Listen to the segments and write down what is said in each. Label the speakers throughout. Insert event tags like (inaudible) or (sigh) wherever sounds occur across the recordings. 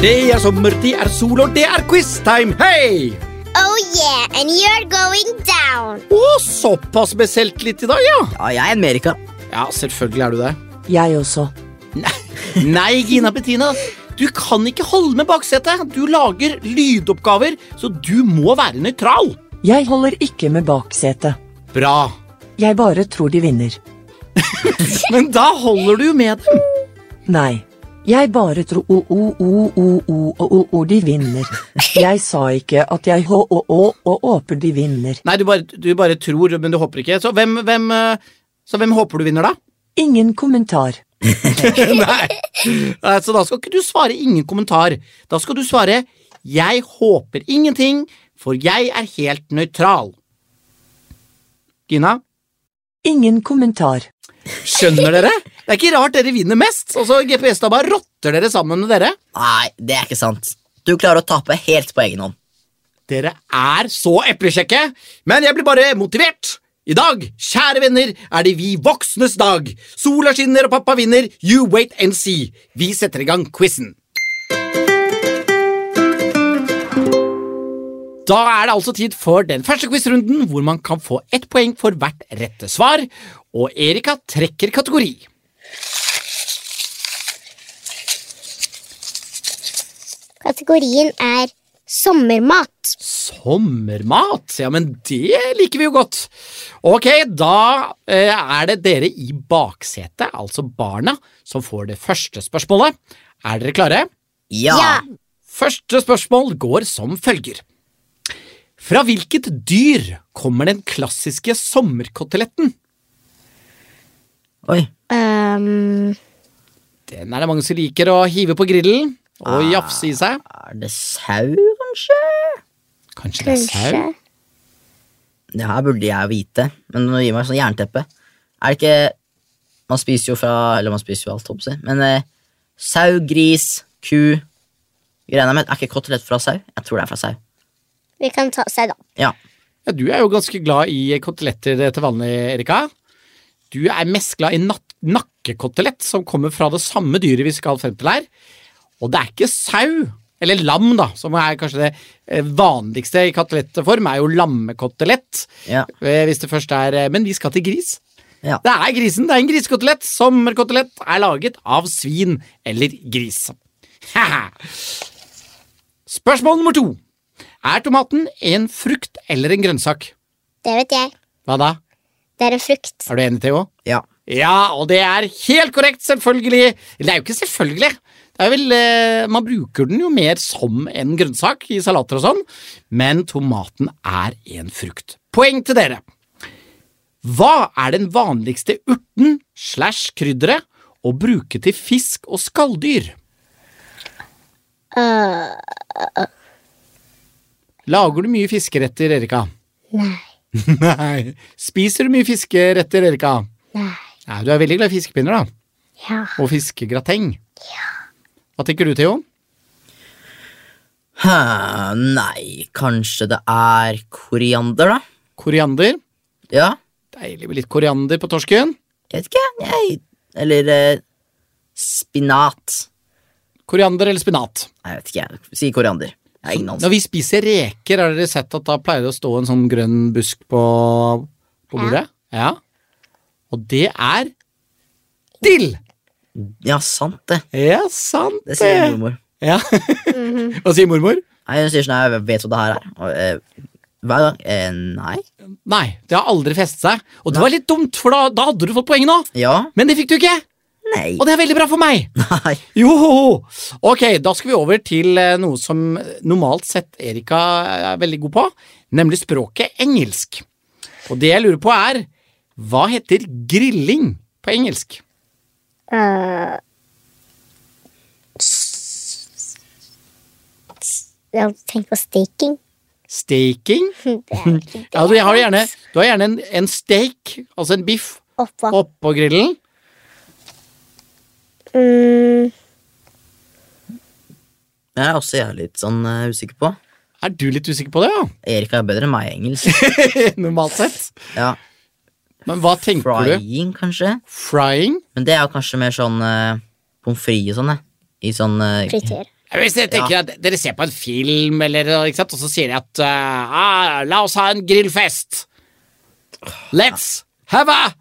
Speaker 1: Det er sommertid, er sol, og det er quiztime! Hei!
Speaker 2: Oh yeah, and you're going down.
Speaker 1: Å, såpass med selvtillit i dag, ja.
Speaker 3: Ja, jeg er en Merika.
Speaker 1: Ja, selvfølgelig er du det.
Speaker 4: Jeg også.
Speaker 1: Nei, Gina Bettina. Du kan ikke holde med baksetet. Du lager lydoppgaver, så du må være nøytral.
Speaker 4: Jeg holder ikke med baksetet.
Speaker 1: Bra.
Speaker 4: Jeg bare tror de vinner.
Speaker 1: Men da holder du jo med dem.
Speaker 4: Nei. Jeg bare tror o-o-o-o-o-o-o de vinner. Jeg sa ikke at jeg h-å-å-å håper de vinner.
Speaker 1: Nei, du bare, du bare tror, men du håper ikke. Så hvem, hvem, eh, så hvem håper du vinner, da?
Speaker 4: Ingen kommentar.
Speaker 1: Nei. (laughs) Nei, Så da skal ikke du svare ingen kommentar. Da skal du svare 'Jeg håper ingenting, for jeg er helt nøytral'. Gina,
Speaker 4: Ingen kommentar.
Speaker 1: skjønner dere? Det er ikke rart dere vinner mest. Altså, GPS-dabba rotter dere sammen med dere.
Speaker 3: Nei, det er ikke sant. Du klarer å tape helt på egen hånd.
Speaker 1: Dere er så eplesjekke, men jeg blir bare motivert. I dag, kjære venner, er det vi voksnes dag. Sola skinner og pappa vinner. You wait and see. Vi setter i gang quizen. Da er det altså tid for den første quizrunden, hvor man kan få ett poeng for hvert rette svar. Og Erika trekker kategori.
Speaker 2: Kategorien er sommermat.
Speaker 1: Sommermat? Ja, men det liker vi jo godt. Ok, da eh, er det dere i baksetet, altså barna, som får det første spørsmålet. Er dere klare?
Speaker 3: Ja.
Speaker 2: Ja.
Speaker 1: Første spørsmål går som følger. Fra hvilket dyr kommer den klassiske sommerkoteletten?
Speaker 3: Oi.
Speaker 2: Um,
Speaker 1: Den er det mange som liker å hive på grillen og jafse i seg.
Speaker 3: Er det sau, kanskje?
Speaker 1: Kanskje det er
Speaker 2: kanskje.
Speaker 1: sau?
Speaker 3: Det her burde jeg vite, men nå gir meg sånn jernteppe. Er det ikke Man spiser jo fra Eller man spiser jo alt, håper jeg. Men eh, sau, gris, ku Greiene med Er ikke kotelett fra sau? Jeg tror det er fra sau.
Speaker 2: Vi kan ta sau, da.
Speaker 3: Ja.
Speaker 1: Ja, du er jo ganske glad i koteletter eh, til vanlig, Erika. Du er mest glad i nat- nakkekotelett, som kommer fra det samme dyret vi skal frem til her. Og det er ikke sau, eller lam, da, som er kanskje det eh, vanligste i kotelettform, er jo lammekotelett.
Speaker 3: Ja.
Speaker 1: Eh, Hvis det først er eh, Men vi skal til gris.
Speaker 3: Ja.
Speaker 1: Det er grisen. Det er en grisekotelett. Sommerkotelett er laget av svin eller gris. (laughs) Haha. Spørsmål nummer to. Er tomaten en frukt eller en grønnsak?
Speaker 2: Det vet jeg.
Speaker 1: Hva da?
Speaker 2: Det er en frukt.
Speaker 1: Er du enig, Theo?
Speaker 3: ja.
Speaker 1: Ja, og det er helt korrekt, selvfølgelig. Eller det er jo ikke selvfølgelig. Det er vel, eh, Man bruker den jo mer som en grønnsak i salater og sånn, men tomaten er en frukt. Poeng til dere. Hva er den vanligste urten slash krydderet å bruke til fisk og skalldyr? Lager du mye fiskeretter, Erika?
Speaker 2: Nei.
Speaker 1: (laughs) Nei. Spiser du mye fiskeretter, Erika?
Speaker 2: Nei.
Speaker 1: Nei, du er veldig glad i fiskepinner, da.
Speaker 2: Ja.
Speaker 1: og fiskegrateng. Hva tenker du, Theo?
Speaker 3: Hæ, nei, kanskje det er koriander, da?
Speaker 1: Koriander?
Speaker 3: Ja.
Speaker 1: Deilig med litt koriander på torsken.
Speaker 3: Jeg vet ikke, jeg. Eller eh, spinat.
Speaker 1: Koriander eller spinat?
Speaker 3: Nei, Jeg vet ikke, jeg. Si koriander. Jeg har ingen anelse.
Speaker 1: Når vi spiser reker, har dere sett at da pleier det å stå en sånn grønn busk på, på bordet? Ja. Og det er dill!
Speaker 3: Ja, sant det.
Speaker 1: Ja, sant
Speaker 3: Det sier mormor.
Speaker 1: Ja. (laughs) Hva sier mormor?
Speaker 3: Nei, Hun sier sånn jeg vet hva det her er. Og, eh, hver gang. Eh, nei.
Speaker 1: Nei, det har aldri festet seg. Og det var litt dumt, for da, da hadde du fått poeng nå.
Speaker 3: Ja.
Speaker 1: Men det fikk du ikke,
Speaker 3: Nei.
Speaker 1: og det er veldig bra for meg.
Speaker 3: Nei.
Speaker 1: Jo! Ok, da skal vi over til eh, noe som normalt sett Erika er veldig god på, nemlig språket engelsk. Og det jeg lurer på er, hva heter grilling på engelsk?
Speaker 2: Jeg tenker på staking.
Speaker 1: Staking?
Speaker 2: (laughs) Det er ikke det.
Speaker 1: Ja, du har gjerne, du har gjerne en, en steak, altså en biff,
Speaker 2: Oppå.
Speaker 1: oppå grillen.
Speaker 2: Mm,
Speaker 3: Jeg er også jeg er litt sånn eh, usikker på.
Speaker 1: Er du litt usikker på det, ja?
Speaker 3: Erika er bedre enn meg i engelsk.
Speaker 1: (laughs) Normalt sett.
Speaker 3: Ja.
Speaker 1: Men hva tenker du?
Speaker 3: Frying, kanskje.
Speaker 1: Frying?
Speaker 3: Men det er jo kanskje mer sånn eh, pommes frites og sånn, det. I sånn eh,
Speaker 2: friter.
Speaker 1: Hvis dere tenker at dere ser på en film, eller, ikke sant? og så sier de at eh, ah, La oss ha en grillfest! Let's have a
Speaker 3: (laughs)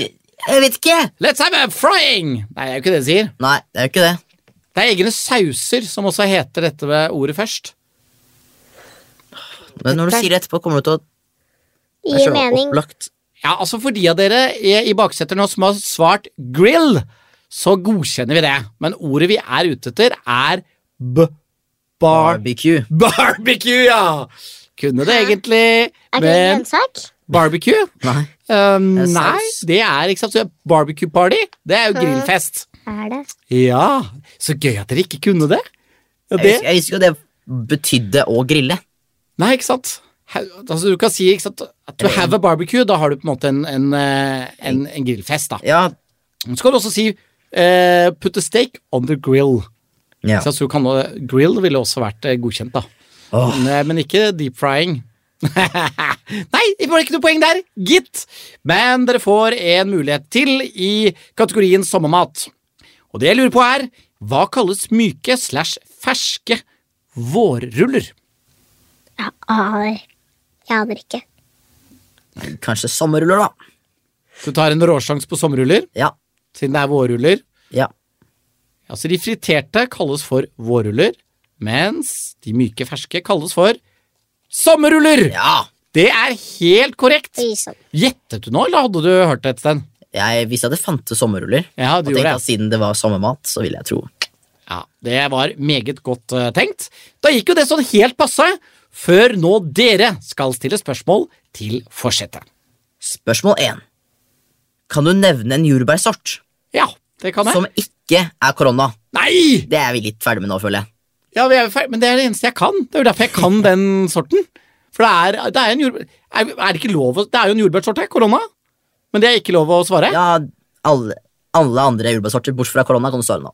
Speaker 3: Jeg vet ikke!
Speaker 1: Let's have a frying! Nei, det er jo ikke det de sier.
Speaker 3: Nei, det er jo ikke det.
Speaker 1: Det er egne sauser som også heter dette med ordet først.
Speaker 3: Men når du sier det etterpå, kommer du til å Det er
Speaker 2: Gir
Speaker 3: så
Speaker 2: mening.
Speaker 3: Opplagt.
Speaker 1: Ja, altså For de av dere i, i baksetet nå som har svart grill, så godkjenner vi det. Men ordet vi er ute etter, er b... Bar...
Speaker 3: Barbecue.
Speaker 1: (laughs) Barbecue, ja! Kunne det egentlig,
Speaker 2: Er det en
Speaker 1: men
Speaker 2: grønnsak?
Speaker 1: Barbecue?
Speaker 3: Nei.
Speaker 1: Um,
Speaker 3: Det er
Speaker 1: nei,
Speaker 3: saus.
Speaker 1: det er ikke sant. Så Barbecue party, det er jo grillfest.
Speaker 2: Er det?
Speaker 1: Ja, så gøy at dere ikke kunne det. Ja,
Speaker 3: Jeg
Speaker 1: det.
Speaker 3: visste, jeg visste ikke at det betydde å grille.
Speaker 1: Nei, ikke sant. Ha- Altså, du kan si ikke sant, at du have a barbecue, da har du på en måte en, en, eh, en, en grillfest. da.
Speaker 3: Ja.
Speaker 1: Så kan du også si eh, put a steak on the grill.
Speaker 3: ja.
Speaker 1: Så altså, du kan, grill ville også vært eh, godkjent, da.
Speaker 3: Åh.
Speaker 1: Men, eh, men ikke deep frying. (laughs) Nei, det var ikke noe poeng der, gitt. Men dere får en mulighet til i kategorien sommermat. Og det jeg lurer på er, hva kalles myke slash ferske vårruller?
Speaker 2: Jeg aner. Jeg aner ikke.
Speaker 3: Kanskje sommerruller, da.
Speaker 1: Du tar en råsjans på sommerruller,
Speaker 3: Ja.
Speaker 1: siden det er vårruller.
Speaker 3: Ja.
Speaker 1: Altså, de friterte kalles for vårruller, mens de myke ferske kalles for sommerruller!
Speaker 3: ja.
Speaker 1: Det er helt korrekt!
Speaker 2: Oi sann.
Speaker 1: Gjettet du nå, eller hadde du hørt det et sted?
Speaker 3: Jeg visste at det fantes sommerruller.
Speaker 1: Ja,
Speaker 3: og
Speaker 1: du
Speaker 3: tenkte
Speaker 1: gjorde
Speaker 3: at
Speaker 1: det.
Speaker 3: siden det var sommermat, så ville jeg tro.
Speaker 1: Ja, Det var meget godt eh, tenkt. Da gikk jo det sånn helt passe, før nå dere skal stille spørsmål til forsetet.
Speaker 3: Spørsmål 1. Kan du nevne en jordbærsort
Speaker 1: Ja, det kan jeg.
Speaker 3: som ikke er korona?
Speaker 1: Nei!
Speaker 3: Det er vi litt ferdig med nå, føler jeg.
Speaker 1: Ja, vi er jo ferdig, Men det er det eneste jeg kan. Det er jo derfor jeg kan den sorten. For det er, det er en jordbær... Er, er det ikke lov å Det er jo en jordbærsort her, korona. Men det er ikke lov å svare?
Speaker 3: Ja, alle, alle andre jordbærsorter bortsett fra korona kan du svare nå.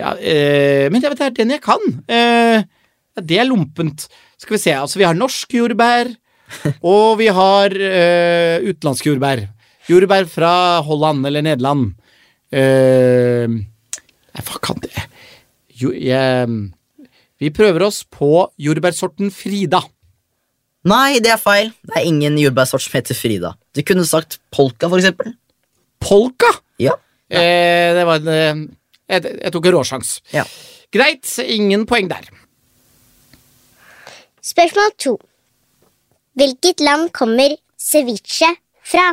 Speaker 1: Ja, eh, men det, det er den jeg kan. Eh, ja, det er lompent. Skal vi se, altså vi har norsk
Speaker 3: (laughs)
Speaker 1: jordbær, og vi har eh, utenlandsk jordbær. Jordbær fra Holland eller Nederland. Eh, nei, hva kan det jo, jeg, Vi prøver oss på jordbærsorten Frida.
Speaker 3: Nei, det er feil. Det er ingen jordbærsort som heter Frida. Du kunne sagt polka, for eksempel.
Speaker 1: Polka!
Speaker 3: Ja.
Speaker 1: Eh, det var en eh, jeg, jeg tok en råsjans.
Speaker 3: ja.
Speaker 1: Greit, ingen poeng der.
Speaker 2: Spørsmål to. Hvilket land kommer ceviche fra?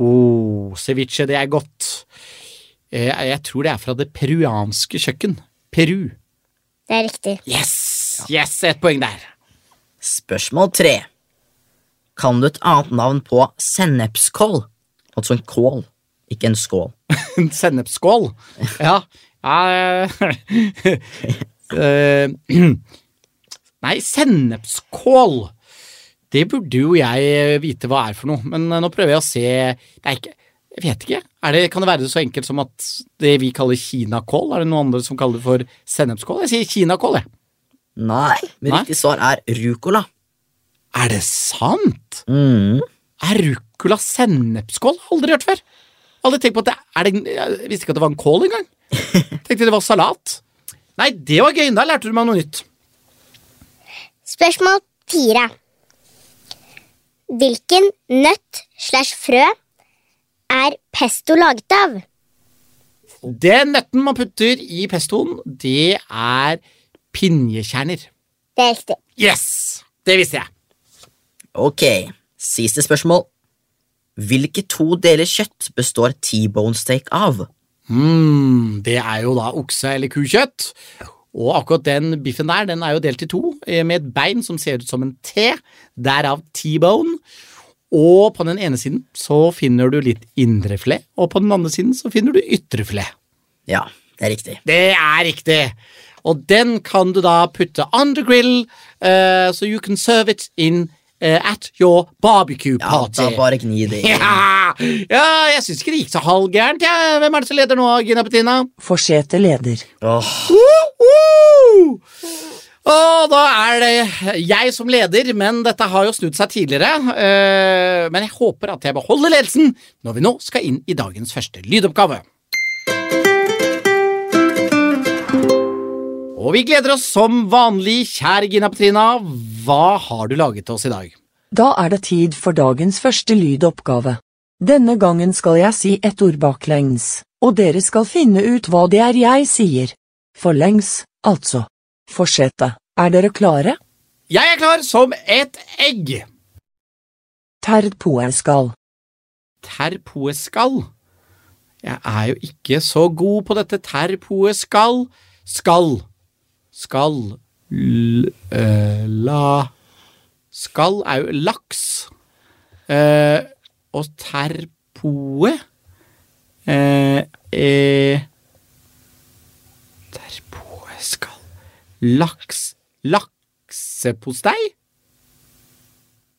Speaker 1: Oh, ceviche, det er godt. Eh, Jeg tror det er fra det peruanske kjøkken. Peru.
Speaker 2: Det er riktig.
Speaker 1: Yes! Yes, Et poeng der.
Speaker 3: Spørsmål 3. Kan du et annet navn på sennepskål? Altså en kål, ikke en skål.
Speaker 1: En sennepsskål. Ja. ja eh, (laughs) eh, (clears throat) Nei, sennepskål. Det burde jo jeg eh, vite hva er for noe, men eh, nå prøver jeg å se Det er ikke Jeg vet ikke. Er det, kan det være så enkelt som at det vi kaller kinakål, er det noen andre som kaller det for sennepskål? Jeg sier kinakål, jeg.
Speaker 3: Nei, men
Speaker 1: Nei.
Speaker 3: riktig svar er rucola.
Speaker 1: Er det sant?
Speaker 3: Mm.
Speaker 1: Er rucola sennepskål? Aldri hørt før. Aldri tenkt på at det er det, Jeg visste ikke at det var en kål engang. Tenkte det var salat. Nei, det var gøy. Da lærte du meg noe nytt.
Speaker 2: Spørsmål fire. Hvilken nøtt slash frø er pesto laget av?
Speaker 1: Den nøtten man putter i pestoen, det er pinjekjerner.
Speaker 2: Det er riktig.
Speaker 1: Yes! Det visste jeg.
Speaker 3: Ok, siste spørsmål. Hvilke to deler kjøtt består T-bone steak av?
Speaker 1: Mm, det er jo da okse- eller kukjøtt. Og akkurat den biffen der, den er jo delt i to, eh, med et bein som ser ut som en T, derav T-bone. Og på den ene siden så finner du litt indrefilet, og på den andre siden så finner du ytrefilet.
Speaker 3: Ja, det er riktig.
Speaker 1: Det er riktig! Og den kan du da putte on the grill, eh, so you can serve it in eh, at your barbecue
Speaker 3: Ja,
Speaker 1: party.
Speaker 3: da bare gni det i.
Speaker 1: (laughs) ja, ja, jeg syns ikke det gikk så halvgærent, jeg. Hvem er det som leder nå, Gina Bettina?
Speaker 4: Forsete leder.
Speaker 3: Åh,
Speaker 1: Å, og da er det jeg som leder, men dette har jo snudd seg tidligere. Eh, Men jeg håper at jeg beholder ledelsen når vi nå skal inn i dagens første lydoppgave. Og vi gleder oss som vanlig. Kjære Gina Petrina, hva har du laget til oss i dag?
Speaker 4: Da er det tid for dagens første lydoppgave. Denne gangen skal jeg si et ord baklengs, og dere skal finne ut hva det er jeg sier. Forlengs, altså. Fortsette. Er dere klare?
Speaker 1: Jeg er klar som et egg.
Speaker 4: Terpoeskall.
Speaker 1: Terpoeskall. Jeg er jo ikke så god på dette terpoeskall. Skall. Skall. L eh, la. Skall er jo laks. Eh, og terpoe eh, eh, Terpoeskall. Laks. Laksepostei?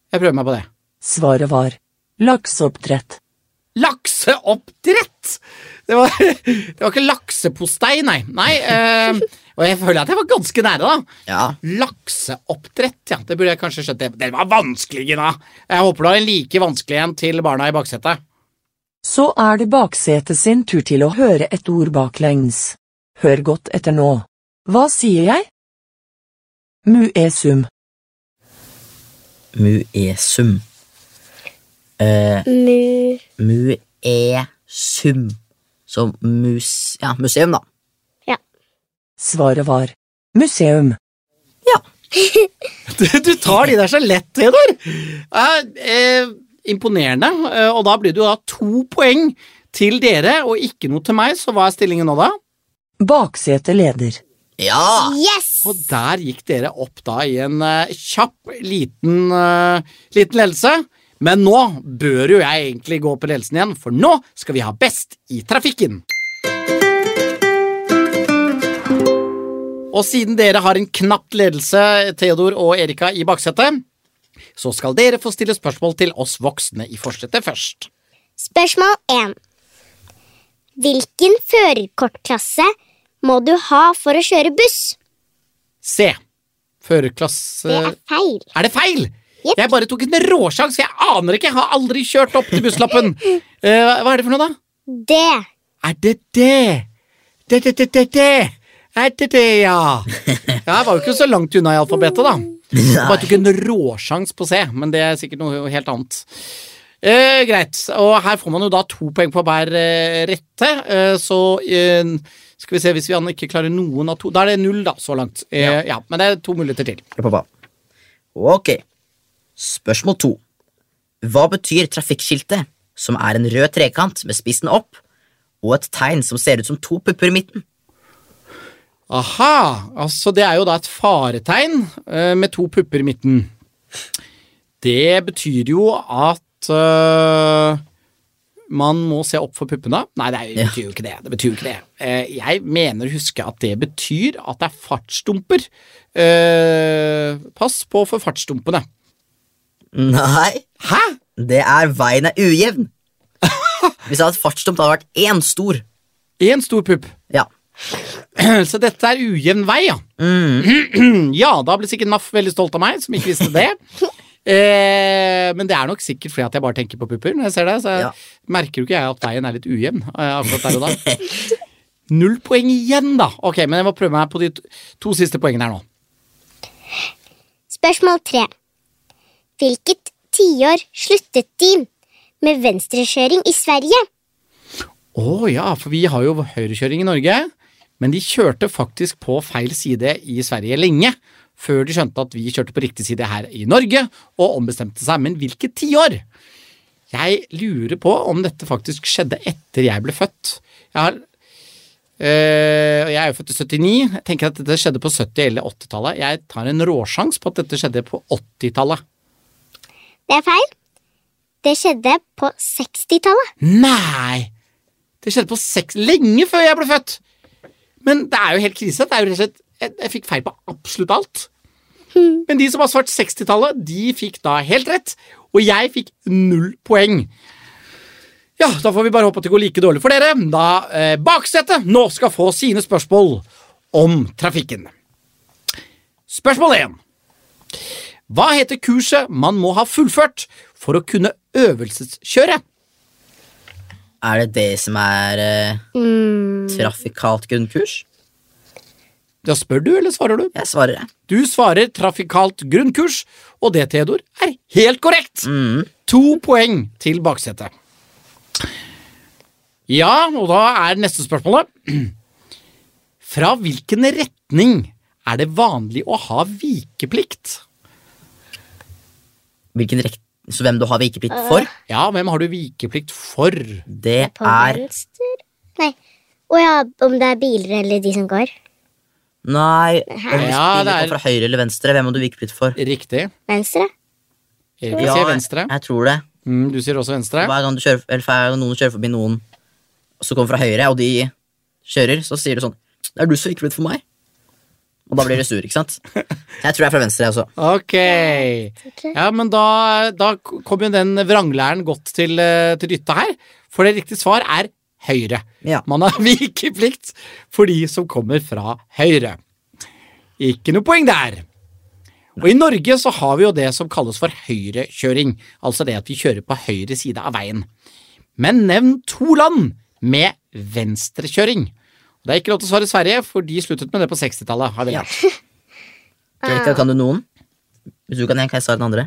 Speaker 1: Jeg prøver meg på det.
Speaker 4: Svaret var lakseoppdrett.
Speaker 1: Lakseoppdrett! Det var, (laughs) det var ikke laksepostei, nei. nei eh, og jeg føler at jeg var ganske nære, da.
Speaker 3: Ja.
Speaker 1: Lakseoppdrett, ja. Det burde jeg kanskje skjønt. Det- Den var vanskelig, Gina! Jeg håper du har en like vanskelig en til barna i baksetet.
Speaker 4: Så er det baksetet sin tur til å høre et ord baklengs. Hør godt etter nå. Hva sier jeg? Muesum.
Speaker 3: Muesum. Eh,
Speaker 2: Mu...
Speaker 3: muesum. Så mus... Ja, museum, da.
Speaker 4: Svaret var museum.
Speaker 1: (laughs) Du, du tar de der så lett, Theodor! Ja, eh, imponerende. Eh, og da blir det jo da to poeng til dere, og ikke noe til meg, så hva er stillingen nå, da?
Speaker 4: Baksetet leder.
Speaker 3: Ja!
Speaker 2: Yes!
Speaker 1: Og der gikk dere opp da i en eh, kjapp, liten, eh, liten ledelse. Men nå bør jo jeg egentlig gå på ledelsen igjen, for nå skal vi ha Best i trafikken. Og siden dere har en knapp ledelse, Theodor og Erika, i baksetet, så skal dere få stille spørsmål til oss voksne i forsetet først.
Speaker 2: Spørsmål 1. Hvilken førerkortklasse må du ha for å kjøre buss?
Speaker 1: C.
Speaker 2: Det
Speaker 1: Førerklasse
Speaker 2: er feil.
Speaker 1: Er det feil?
Speaker 2: Jepp.
Speaker 1: Jeg bare tok en råsjanse. Jeg aner ikke. Jeg har aldri kjørt opp til busslappen. Eh, hva er det for noe, da?
Speaker 2: Det.
Speaker 1: Er det det? Det, det, det, det, det. Er det det, ja. Jeg var jo ikke så langt unna i alfabetet, da. Jeg bare tok en råsjanse på C, men det er sikkert noe helt annet. Eh, greit. Og her får man jo da to poeng på hver eh, rette, eh, så eh, skal vi se hvis vi an- ikke klarer noen av to Da er det null, da, så langt. Eh, ja, men det er to muligheter til.
Speaker 3: Ja, pappa. Ok. Spørsmål to. Hva betyr trafikkskiltet, som er en rød trekant med spissen opp, og et tegn som ser ut som to pupper i midten?
Speaker 1: Aha! Altså, det er jo da et faretegn eh, med to pupper i midten. Det betyr jo at eh, man må se opp for puppene. Nei, det er- det betyr jo ikke det. det, betyr jo ikke det. Eh, jeg mener å huske at det betyr at det er fartsdumper. Eh, pass på for fartsdumpene.
Speaker 3: Nei,
Speaker 1: Hæ?!
Speaker 3: det er veien er ujevn. Hvis jeg hadde fartsdump, hadde det vært én stor.
Speaker 1: Én stor pupp.
Speaker 3: Ja.
Speaker 1: (clears throat) Så dette er ujevn vei, ja. (clears throat) ja, da ble sikkert NAF veldig stolt av meg, som ikke visste det. Eh, men det er nok sikkert fordi at jeg bare tenker på pupper når jeg ser det. Så
Speaker 3: Ja.
Speaker 1: merker jo ikke jeg at veien er litt ujevn eh, akkurat der og da. Null poeng igjen, da. Ok, men jeg må prøve meg på de to, to siste poengene her nå.
Speaker 2: Spørsmål 3. Hvilket tiår sluttet de med venstrekjøring i Sverige?
Speaker 1: Å ja, for vi har jo høyrekjøring i Norge, men de kjørte faktisk på feil side i Sverige lenge, før de skjønte at vi kjørte på riktig side her i Norge, og ombestemte seg. Men hvilket tiår? Jeg lurer på om dette faktisk skjedde etter jeg ble født. Jeg har øh, jeg er jo født i 79. Jeg tenker at dette skjedde på 70- eller 80-tallet. Jeg tar en råsjans på at dette skjedde på 80-tallet.
Speaker 2: Det er feil. Det skjedde på 60-tallet.
Speaker 1: Nei! Det skjedde på seks lenge før jeg ble født! Men det er jo helt krise. Det er jo rett og slett, jeg, jeg fikk feil på absolutt alt. Men de som har svart 60-tallet, de fikk da helt rett. Og jeg fikk null poeng. Ja, da får vi bare håpe at det går like dårlig for dere, da eh, baksetet nå skal få sine spørsmål om trafikken. Spørsmål 1. Hva heter kurset man må ha fullført for å kunne øvelseskjøre?
Speaker 3: Er det det som er eh, trafikalt grunnkurs?
Speaker 1: Da spør du, eller svarer du?
Speaker 3: Jeg svarer det.
Speaker 1: Du svarer trafikalt grunnkurs, og det, Theodor, er helt korrekt! To poeng til baksetet. Ja, og da er neste spørsmålet (clears throat) Fra hvilken retning er det vanlig å ha vikeplikt?
Speaker 3: Hvilken rekt... Så hvem du har vikeplikt for?
Speaker 1: Ja, hvem har du vikeplikt for?
Speaker 3: Det
Speaker 2: På
Speaker 3: er
Speaker 2: venstre Nei. Å ja, om det er biler eller de som går.
Speaker 3: Nei, om du
Speaker 1: Ja, det
Speaker 3: spiller
Speaker 1: er-
Speaker 3: på fra høyre eller venstre, hvem må du vikeplikt for?
Speaker 1: Riktig.
Speaker 2: Venstre.
Speaker 1: Erik sier venstre.
Speaker 3: jeg tror det.
Speaker 1: Mm, du sier også venstre.
Speaker 3: Hver gang du kjører, eller hver gang noen kjører forbi noen som kommer fra høyre, og de kjører, så sier du sånn Det er du som vikeplikt for meg. Og da blir du sur, ikke
Speaker 1: (laughs)
Speaker 3: sant? Jeg tror jeg er fra venstre, altså. jeg også.
Speaker 1: Ok. Ja, men da, da kom jo den vranglæren godt til, eh, til nytte her. For det riktige svar er høyre.
Speaker 3: Ja.
Speaker 1: Man har (laughs) vikeplikt for de som kommer fra høyre. Ikke noe poeng der. Og i Norge så har vi jo det som kalles for høyrekjøring. Altså det at vi kjører på høyre side av veien. Men nevn to land med venstrekjøring. Og Det er ikke lov til å svare Sverige, for de sluttet med det på 60-tallet. har vi lært.
Speaker 3: Greta, kan du noen? Hvis du kan en, kan jeg svare den andre?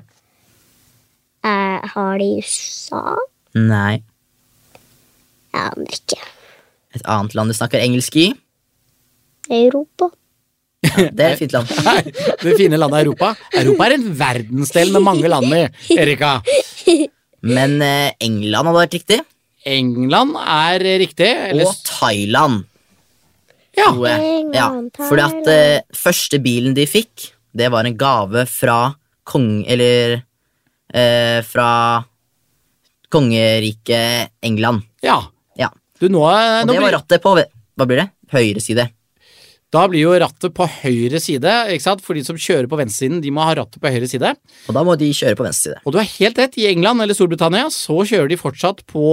Speaker 2: Eh, har de USA?
Speaker 3: Nei.
Speaker 2: Jeg aner ikke.
Speaker 3: Et annet land du snakker engelsk i?
Speaker 2: Europa.
Speaker 3: Det er et fint land.
Speaker 1: Nei, det fine landet Europa. Europa er en verdensdel med mange land i, Erika.
Speaker 3: Men eh, England hadde vært riktig.
Speaker 1: England er riktig. Eller,
Speaker 3: Og Thailand.
Speaker 1: ja,
Speaker 3: tror jeg.
Speaker 2: England,
Speaker 3: ja, fordi at eh, første bilen de fikk, det var en gave fra kong... Eller eh, fra kongeriket England.
Speaker 1: ja.
Speaker 3: Ja.
Speaker 1: Du, nå, er-
Speaker 3: Og
Speaker 1: nå
Speaker 3: det var
Speaker 1: blir,
Speaker 3: rattet på Hva blir det? Høyre side.
Speaker 1: da blir jo rattet på høyre side, ikke sant? for de som kjører på venstresiden, de må ha rattet på høyre side.
Speaker 3: Og da må de kjøre på venstre side.
Speaker 1: Og du har helt rett, i England eller Storbritannia så kjører de fortsatt på,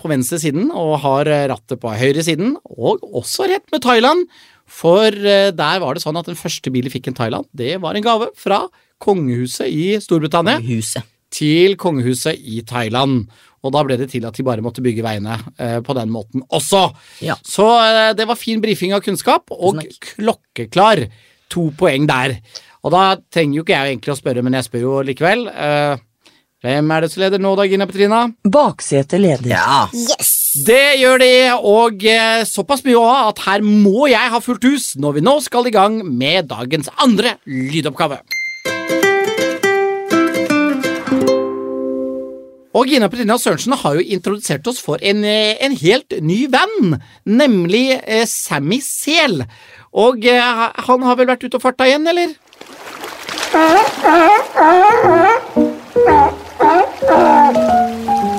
Speaker 1: på venstresiden og har eh, rattet på høyresiden, og også rett med Thailand, for eh, der var det sånn at den første bilen fikk en Thailand, det var en gave fra kongehuset i Storbritannia.
Speaker 3: Huset.
Speaker 1: til kongehuset i Thailand. Og da ble det til at de bare måtte bygge veiene eh, på den måten også.
Speaker 3: Ja.
Speaker 1: Så eh, det var fin brifing av kunnskap, og klokkeklar. To poeng der. Og da trenger jo ikke jeg egentlig å spørre, men jeg spør jo likevel. Eh, hvem er det som leder nå da, Gina Petrina?
Speaker 4: Baksetet leder.
Speaker 3: Ja.
Speaker 2: Yes!
Speaker 1: Det gjør de, og eh, såpass mye òg at her må jeg ha fullt hus når vi nå skal i gang med dagens andre lydoppgave. Og Gina Petrina Sørensen har jo introdusert oss for en, eh, en helt ny venn, nemlig eh, Sammy Sel. Og eh, han har vel vært ute og farta igjen, eller?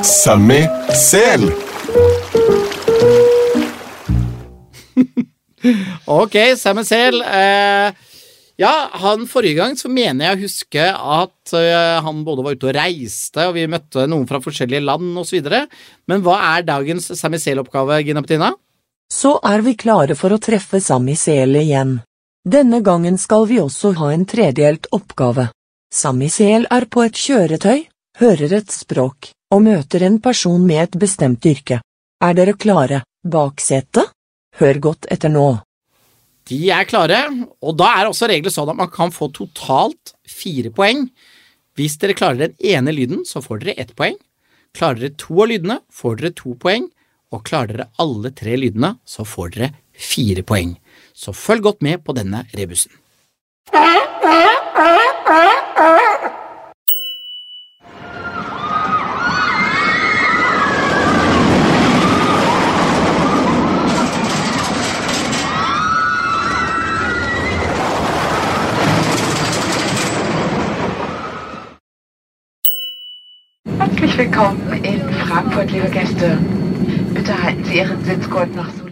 Speaker 5: Sammy Sel.
Speaker 1: Ok, Sam Sel. Eh, ja, han forrige gang så mener jeg å huske at eh, han både var ute og reiste, og vi møtte noen fra forskjellige land osv. Men hva er dagens Sam Sel-oppgave, Gina Petina?
Speaker 4: Så er vi klare for å treffe Sami Sel igjen. Denne gangen skal vi også ha en tredelt oppgave. Sami Sel er på et kjøretøy, hører et språk og møter en person med et bestemt yrke. Er dere klare, baksetet? Hør godt etter nå.
Speaker 1: De er klare, og da er også regler sånn at man kan få totalt fire poeng. Hvis dere klarer den ene lyden, så får dere ett poeng. Klarer dere to av lydene, får dere to poeng. Og klarer dere alle tre lydene, så får dere fire poeng. Så følg godt med på denne rebusen.
Speaker 6: Herzlich willkommen in Frankfurt, liebe Gäste. Bitte halten Sie Ihren Sitzgurt noch so.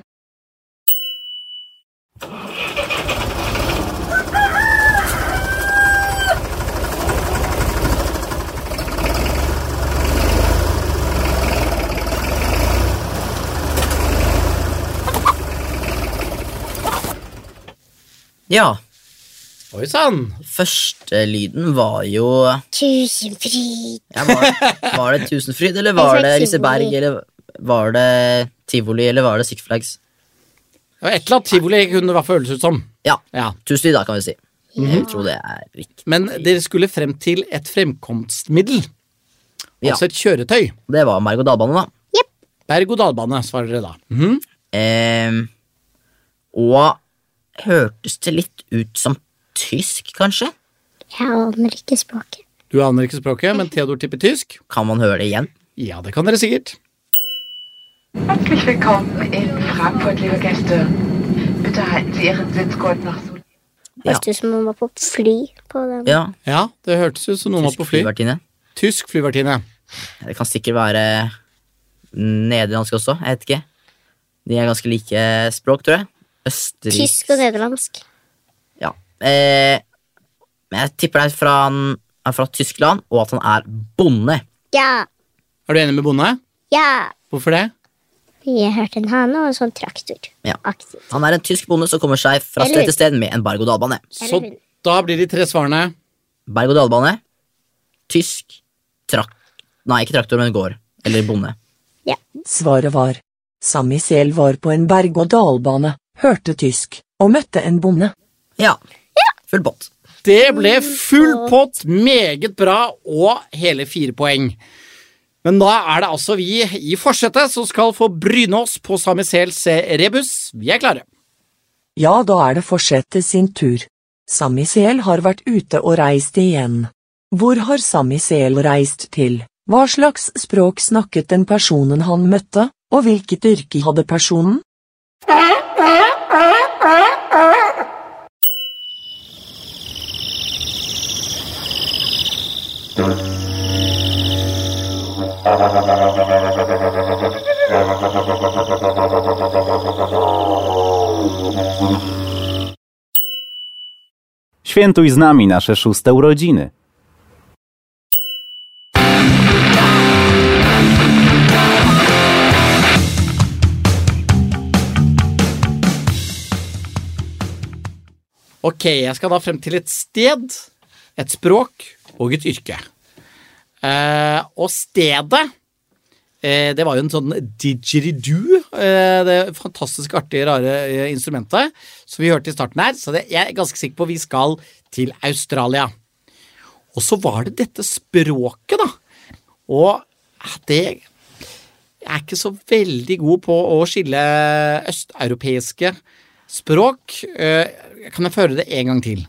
Speaker 3: ja.
Speaker 1: Oi sann!
Speaker 3: Første lyden var jo
Speaker 2: Tusenfryd.
Speaker 3: ja, var, var det Tusenfryd, eller var
Speaker 2: Jeg sa
Speaker 3: det Liseberg,
Speaker 2: Tivoli.
Speaker 3: eller var det Tivoli, eller var det Six Flags?
Speaker 1: Det var Et eller annet tivoli kunne det føles ut som.
Speaker 3: Ja,
Speaker 1: Ja.
Speaker 3: Tusenfryd, da, kan vi si.
Speaker 1: Mhm.
Speaker 3: Jeg tror det er riktig.
Speaker 1: Men dere skulle frem til et fremkomstmiddel.
Speaker 3: Ja.
Speaker 1: Altså et kjøretøy.
Speaker 3: Det var merg-og-dal-bane, da.
Speaker 1: Berg-og-dal-bane, svarer dere da. Mhm.
Speaker 3: Ehm, og hørtes det litt ut som tysk, kanskje?
Speaker 2: Jeg aner ikke språket.
Speaker 1: Du aner ikke språket, men Theodor tipper tysk.
Speaker 3: Kan man høre det igjen?
Speaker 1: Ja, det kan dere sikkert.
Speaker 6: Herzlich willkommen in Frankfurt, liebe Gäste. Bitte halten Sie Ihren Sitzgurt noch so.
Speaker 3: Ja.
Speaker 2: Hørtes ut som om man var på fly på den.
Speaker 3: Ja,
Speaker 1: Ja, det hørtes ut som noen var på fly.
Speaker 3: flyvertinne.
Speaker 1: Tysk flyvertinne.
Speaker 3: Det kan sikkert være nederlandsk også, jeg vet ikke. De er ganske like språk, tror jeg. Østerrike
Speaker 2: Tysk og nederlandsk.
Speaker 3: Ja. Eh, men jeg tipper det er fra, han er fra Tyskland, og at han er bonde.
Speaker 2: Ja,
Speaker 1: Er du enig med bonde?
Speaker 2: ja.
Speaker 1: Hvorfor det?
Speaker 2: Jeg hørte en hane og en sånn traktor.
Speaker 3: Ja.
Speaker 2: Aktiv.
Speaker 3: Han er en tysk bonde som kommer seg fra
Speaker 2: Eller-
Speaker 3: sted til sted med en berg-og-dal-bane.
Speaker 1: Så da blir de tre svarene
Speaker 3: Berg-og-dal-bane, tysk, trak... Nei, ikke traktor, men gård. Eller bonde.
Speaker 4: Svaret var. Sami Sel var på en berg-og-dal-bane, hørte tysk, og møtte en bonde.
Speaker 3: Ja. Full pott.
Speaker 1: Det ble full pott, meget bra, og hele fire poeng. Men da er det altså vi i forsetet som skal få bryne oss på Sami Sels rebus. Vi er klare.
Speaker 4: Ja, da er det fortsette sin tur. Sami Sel har vært ute og reist igjen. Hvor har Sami Sel reist til? Hva slags språk snakket den personen han møtte, og hvilket yrke hadde personen?
Speaker 7: Świętuj z nami nasze szóste urodziny.
Speaker 1: Ok, jeg skal da frem til et sted, et språk og et yrke. Eh, og stedet eh, Det var jo en sånn didgeridoo. Eh, det fantastisk artige, rare eh, instrumentet som vi hørte i starten her. Så det, jeg er ganske sikker på vi skal til Australia. Og så var det dette språket, da. Og eh, det Jeg er ikke så veldig god på å skille østeuropeiske språk. Eh, Kan jeg føre det en gang til?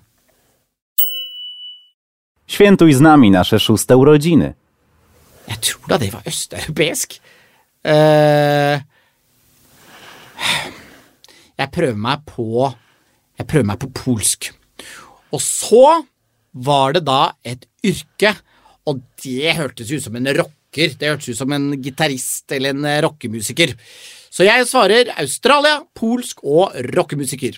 Speaker 7: Świętuj z nami nasze szóste urodziny.
Speaker 1: Jeg tror da det var østeuropeisk. Eh, jeg prøver meg på Jeg prøver meg på polsk. Og så var det da et yrke, og det hørtes ut som en rocker. Det hørtes ut som en gitarist eller en eh, rockemusiker. Så jeg svarer Australia, polsk og rockemusiker.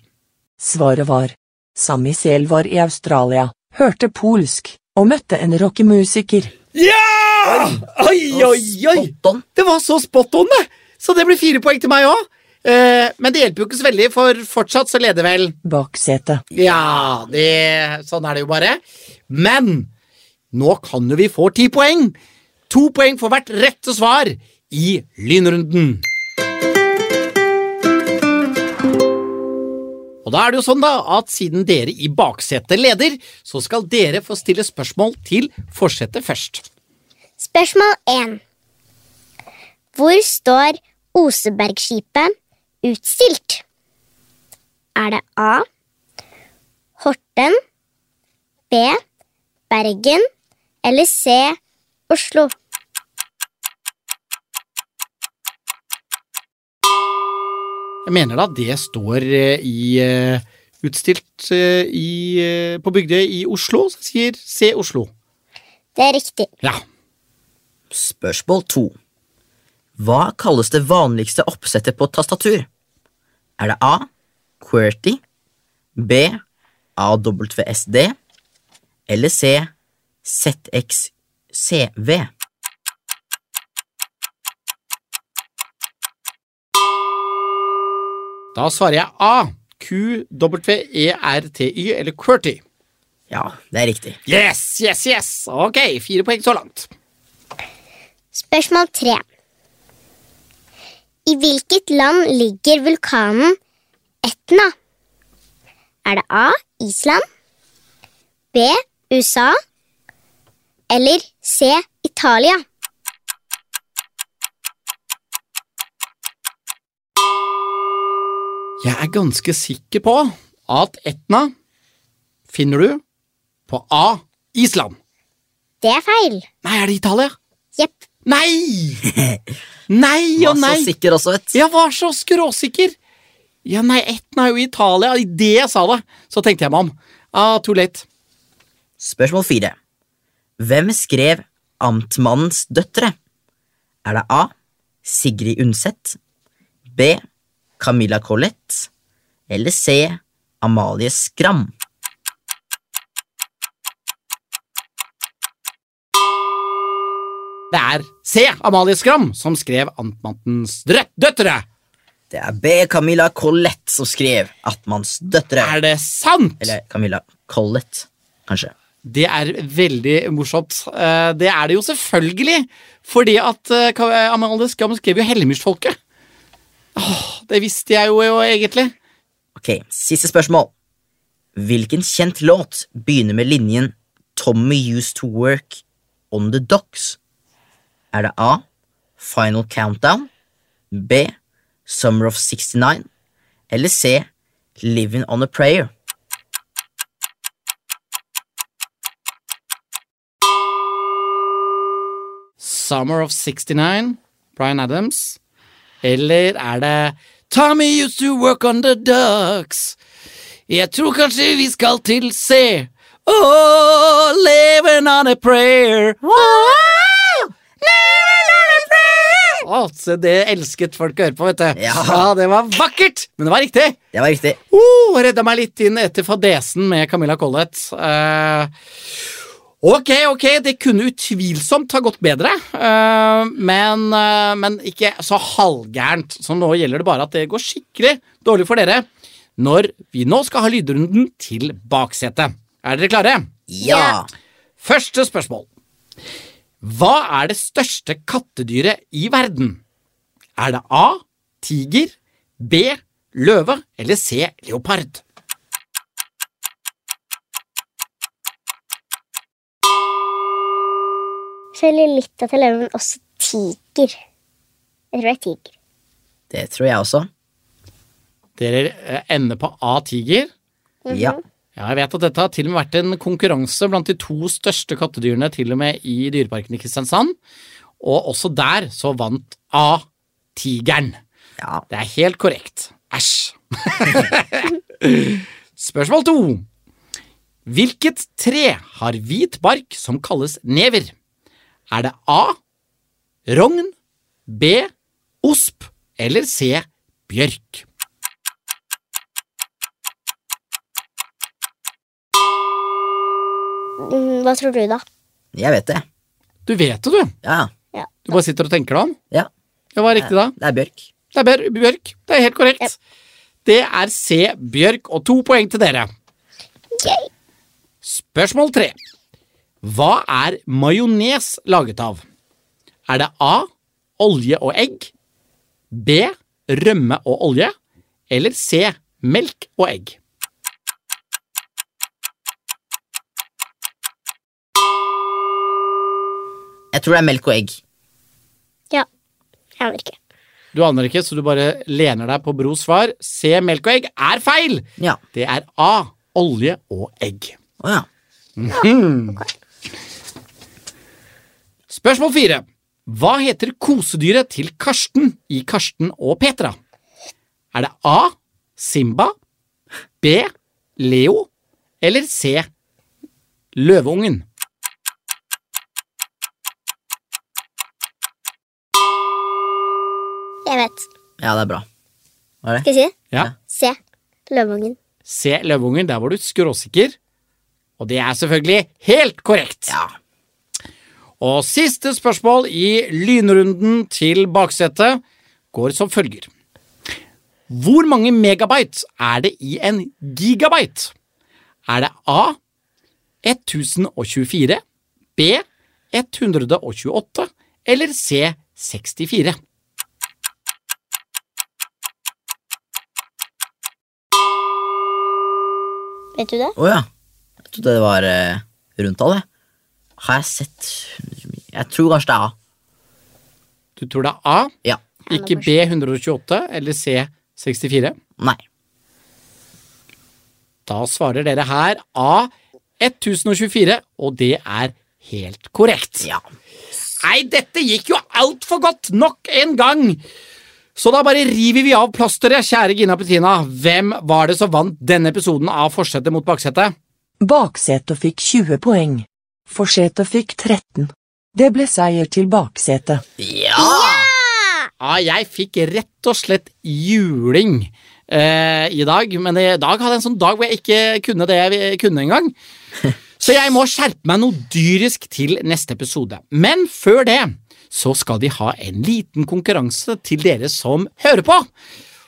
Speaker 4: Svaret var. Sami Sel var i Australia, hørte polsk, og møtte en rockemusiker.
Speaker 1: Ja! Oi, oi, oi!
Speaker 3: Spot on.
Speaker 1: Det var så spot on, det! Så det blir fire poeng til meg òg. men det hjelper jo ikke så veldig, for fortsatt så leder vel
Speaker 4: Baksete.
Speaker 1: Ja, det, sånn er det jo bare. Men nå kan jo vi få ti poeng. To poeng for hvert rette svar i lynrunden. Og da er det jo sånn da at siden dere i baksetet leder, så skal dere få stille spørsmål til forsetet først.
Speaker 2: Spørsmål 1. Hvor står Osebergskipet utstilt? Er det A. Horten. B. Bergen. Eller C. Oslo?
Speaker 1: Jeg mener da det står eh, i eh, utstilt eh, i, eh, på Bygdøy i Oslo, som sier Se Oslo.
Speaker 2: Det er riktig.
Speaker 1: Ja.
Speaker 3: Spørsmål to. Hva kalles det vanligste oppsettet på tastatur? Er det A. QWERTY, B. AWSD eller C. ZXCV?
Speaker 1: E, Da svarer jeg A. Q-W-E-R-T-Y eller QWERTY.
Speaker 3: Ja, det er riktig.
Speaker 1: Yes, yes, yes! Ok, fire poeng så langt.
Speaker 2: Spørsmål tre. I hvilket land ligger vulkanen Etna? Er det A. Island, B. USA eller C. Italia?
Speaker 1: Jeg er ganske sikker på at Etna finner du på A. Island.
Speaker 2: Det er feil.
Speaker 1: Nei, er det Italia?
Speaker 2: Jepp.
Speaker 1: Nei! Nei og
Speaker 3: Var
Speaker 1: nei.
Speaker 3: så sikker også, vet du.
Speaker 1: Jeg var så skråsikker. Ja, nei, Etna er jo i Italia. Idet jeg sa det, så tenkte jeg meg om. Ah, too late.
Speaker 3: Spørsmål fire. Hvem skrev Amtmannens døtre? Er det A. Sigrid Undset? B. Camilla Collett? Eller C. Amalie Skram?
Speaker 1: Det er C. Amalie Skram som skrev Amtmannens drø- døtre.
Speaker 3: Det er B. Camilla Collett som skrev Amtmannens døtre.
Speaker 1: Er det sant?
Speaker 3: Eller Camilla Collett, kanskje.
Speaker 1: Det er veldig morsomt. Eh, Det er det jo selvfølgelig, fordi at eh, Ka- eh, Amalie Skam skrev jo Hellemyrsfolket. Åh, det visste jeg jo, jo egentlig.
Speaker 3: Ok, siste spørsmål. Hvilken kjent låt begynner med linjen Tommy used to work on the docks? Er det A. Final Countdown? B. Summer of 69? Eller C. Living on a Prayer?
Speaker 1: Summer of 69, Bryan Adams. Eller er det Tommy used to work on the ducks. Jeg tror kanskje vi skal til C. Oh, living on a prayer. Wow! Å, se, det elsket folk å høre på, vet du.
Speaker 3: Ja.
Speaker 1: det var vakkert! Men det var riktig.
Speaker 3: Det var riktig.
Speaker 1: Uh, redda meg litt inn etter fadesen med Camilla Collett. Eh, ok, ok, det kunne utvilsomt ha gått bedre, eh, men, eh, men ikke så halvgærent. Så nå gjelder det bare at det går skikkelig dårlig for dere når vi nå skal ha lydrunden til baksetet. Er dere klare?
Speaker 3: Ja!
Speaker 1: Første spørsmål. Hva er det største kattedyret i verden? Er det A. Tiger, B. Løve eller C. Leopard?
Speaker 2: Føler litt at jeg lever men også tiger. Jeg tror det er tiger.
Speaker 3: Det tror jeg også.
Speaker 1: Dere eh, ender på A. Tiger.
Speaker 3: Ja.
Speaker 1: Ja, jeg vet at dette har til og med vært en konkurranse blant de to største kattedyrene til og med i dyreparken i Kristiansand. Og også der så vant A. Tigeren.
Speaker 3: ja.
Speaker 1: Det er helt korrekt. Æsj. (laughs) Spørsmål to. Hvilket tre har hvit bark som kalles never? Er det A. Rogn, B. Osp eller C. Bjørk?
Speaker 2: Mm, Hva tror du, da?
Speaker 3: Jeg vet det.
Speaker 1: Du vet det, du.
Speaker 3: Ja.
Speaker 1: Du bare sitter og tenker deg om.
Speaker 3: ja.
Speaker 1: Det var riktig, da.
Speaker 3: Det er Bjørk.
Speaker 1: Det er Bjør- Bjørk. Det er helt korrekt. Det er C. Bjørk, og to poeng til dere.
Speaker 2: Yay.
Speaker 1: Spørsmål tre. Hva er majones laget av? Er det A. Olje og egg. B. Rømme og olje. Eller C. Melk og egg.
Speaker 3: Jeg tror det er melk og egg.
Speaker 2: Ja, jeg aner ikke.
Speaker 1: Du aner ikke, så du bare lener deg på Bros svar. C. Melk og egg er feil!
Speaker 3: Ja.
Speaker 1: Det er A. Olje og egg.
Speaker 3: Å ja.
Speaker 1: Spørsmål fire. Hva heter kosedyret til Karsten i Karsten og Petra? Er det A. Simba, B. Leo eller C. Løveungen?
Speaker 2: Jeg vet.
Speaker 3: Ja, det er bra. Var det?
Speaker 2: Skal jeg si det?
Speaker 1: Ja.
Speaker 2: Se. Løveungen.
Speaker 1: C. Løveungen. Der var du skråsikker. Og det er selvfølgelig helt korrekt.
Speaker 3: Ja.
Speaker 1: Og siste spørsmål i lynrunden til baksetet går som følger. Hvor mange megabyte er det i en gigabyte? Er det A 1024, B 128 eller C 64?
Speaker 2: Vet du det?
Speaker 3: Å ja. Jeg trodde det var eh, rundtall, jeg. Har jeg sett Jeg tror kanskje det er A.
Speaker 1: Du tror det er A,
Speaker 3: Ja.
Speaker 1: ikke B 128 eller C 64?
Speaker 3: Nei.
Speaker 1: Da svarer dere her A 1024, og det er helt korrekt.
Speaker 3: Ja.
Speaker 1: Nei, dette gikk jo altfor godt nok en gang! Så da bare river vi av plasteret, kjære Gina Petrina. Hvem var det som vant denne episoden av Forsetet mot baksetet?
Speaker 4: Baksetet fikk 20 poeng. Forsetet fikk 13. Det ble seier til baksetet.
Speaker 3: Ja!
Speaker 1: Ja, jeg fikk rett og slett juling eh, i dag, men i dag hadde jeg en sånn dag hvor jeg ikke kunne det jeg kunne engang. Så jeg må skjerpe meg noe dyrisk til neste episode. Men før det så skal de ha en liten konkurranse til dere som hører på.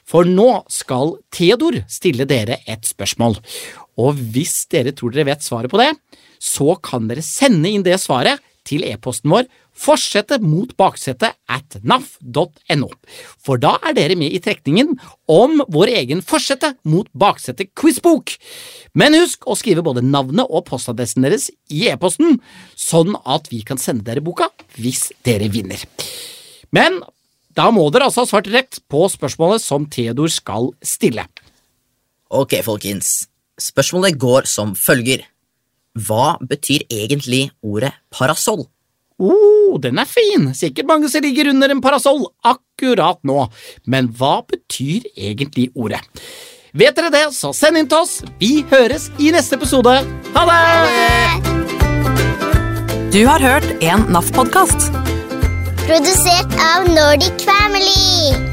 Speaker 1: For nå skal Theodor stille dere et spørsmål. Og hvis dere tror dere vet svaret på det, så kan dere sende inn det svaret til e-posten vår fortsette mot baksetet at naf.no. For da er dere med i trekningen om vår egen Forsette mot baksetet-quizbok. Men husk å skrive både navnet og postadressen deres i e-posten, sånn at vi kan sende dere boka hvis dere vinner. Men da må dere altså ha svart rett på spørsmålet som Theodor skal stille.
Speaker 3: Ok, folkens. Spørsmålet går som følger. Hva betyr egentlig ordet parasoll?
Speaker 1: oh, den er fin! Sikkert mange som ligger under en parasoll akkurat nå. Men hva betyr egentlig ordet? Vet dere det, så send inn til oss. Vi høres i neste episode. Ha det!
Speaker 8: Du har hørt en NAF-podkast.
Speaker 2: Produsert av Nordic Family.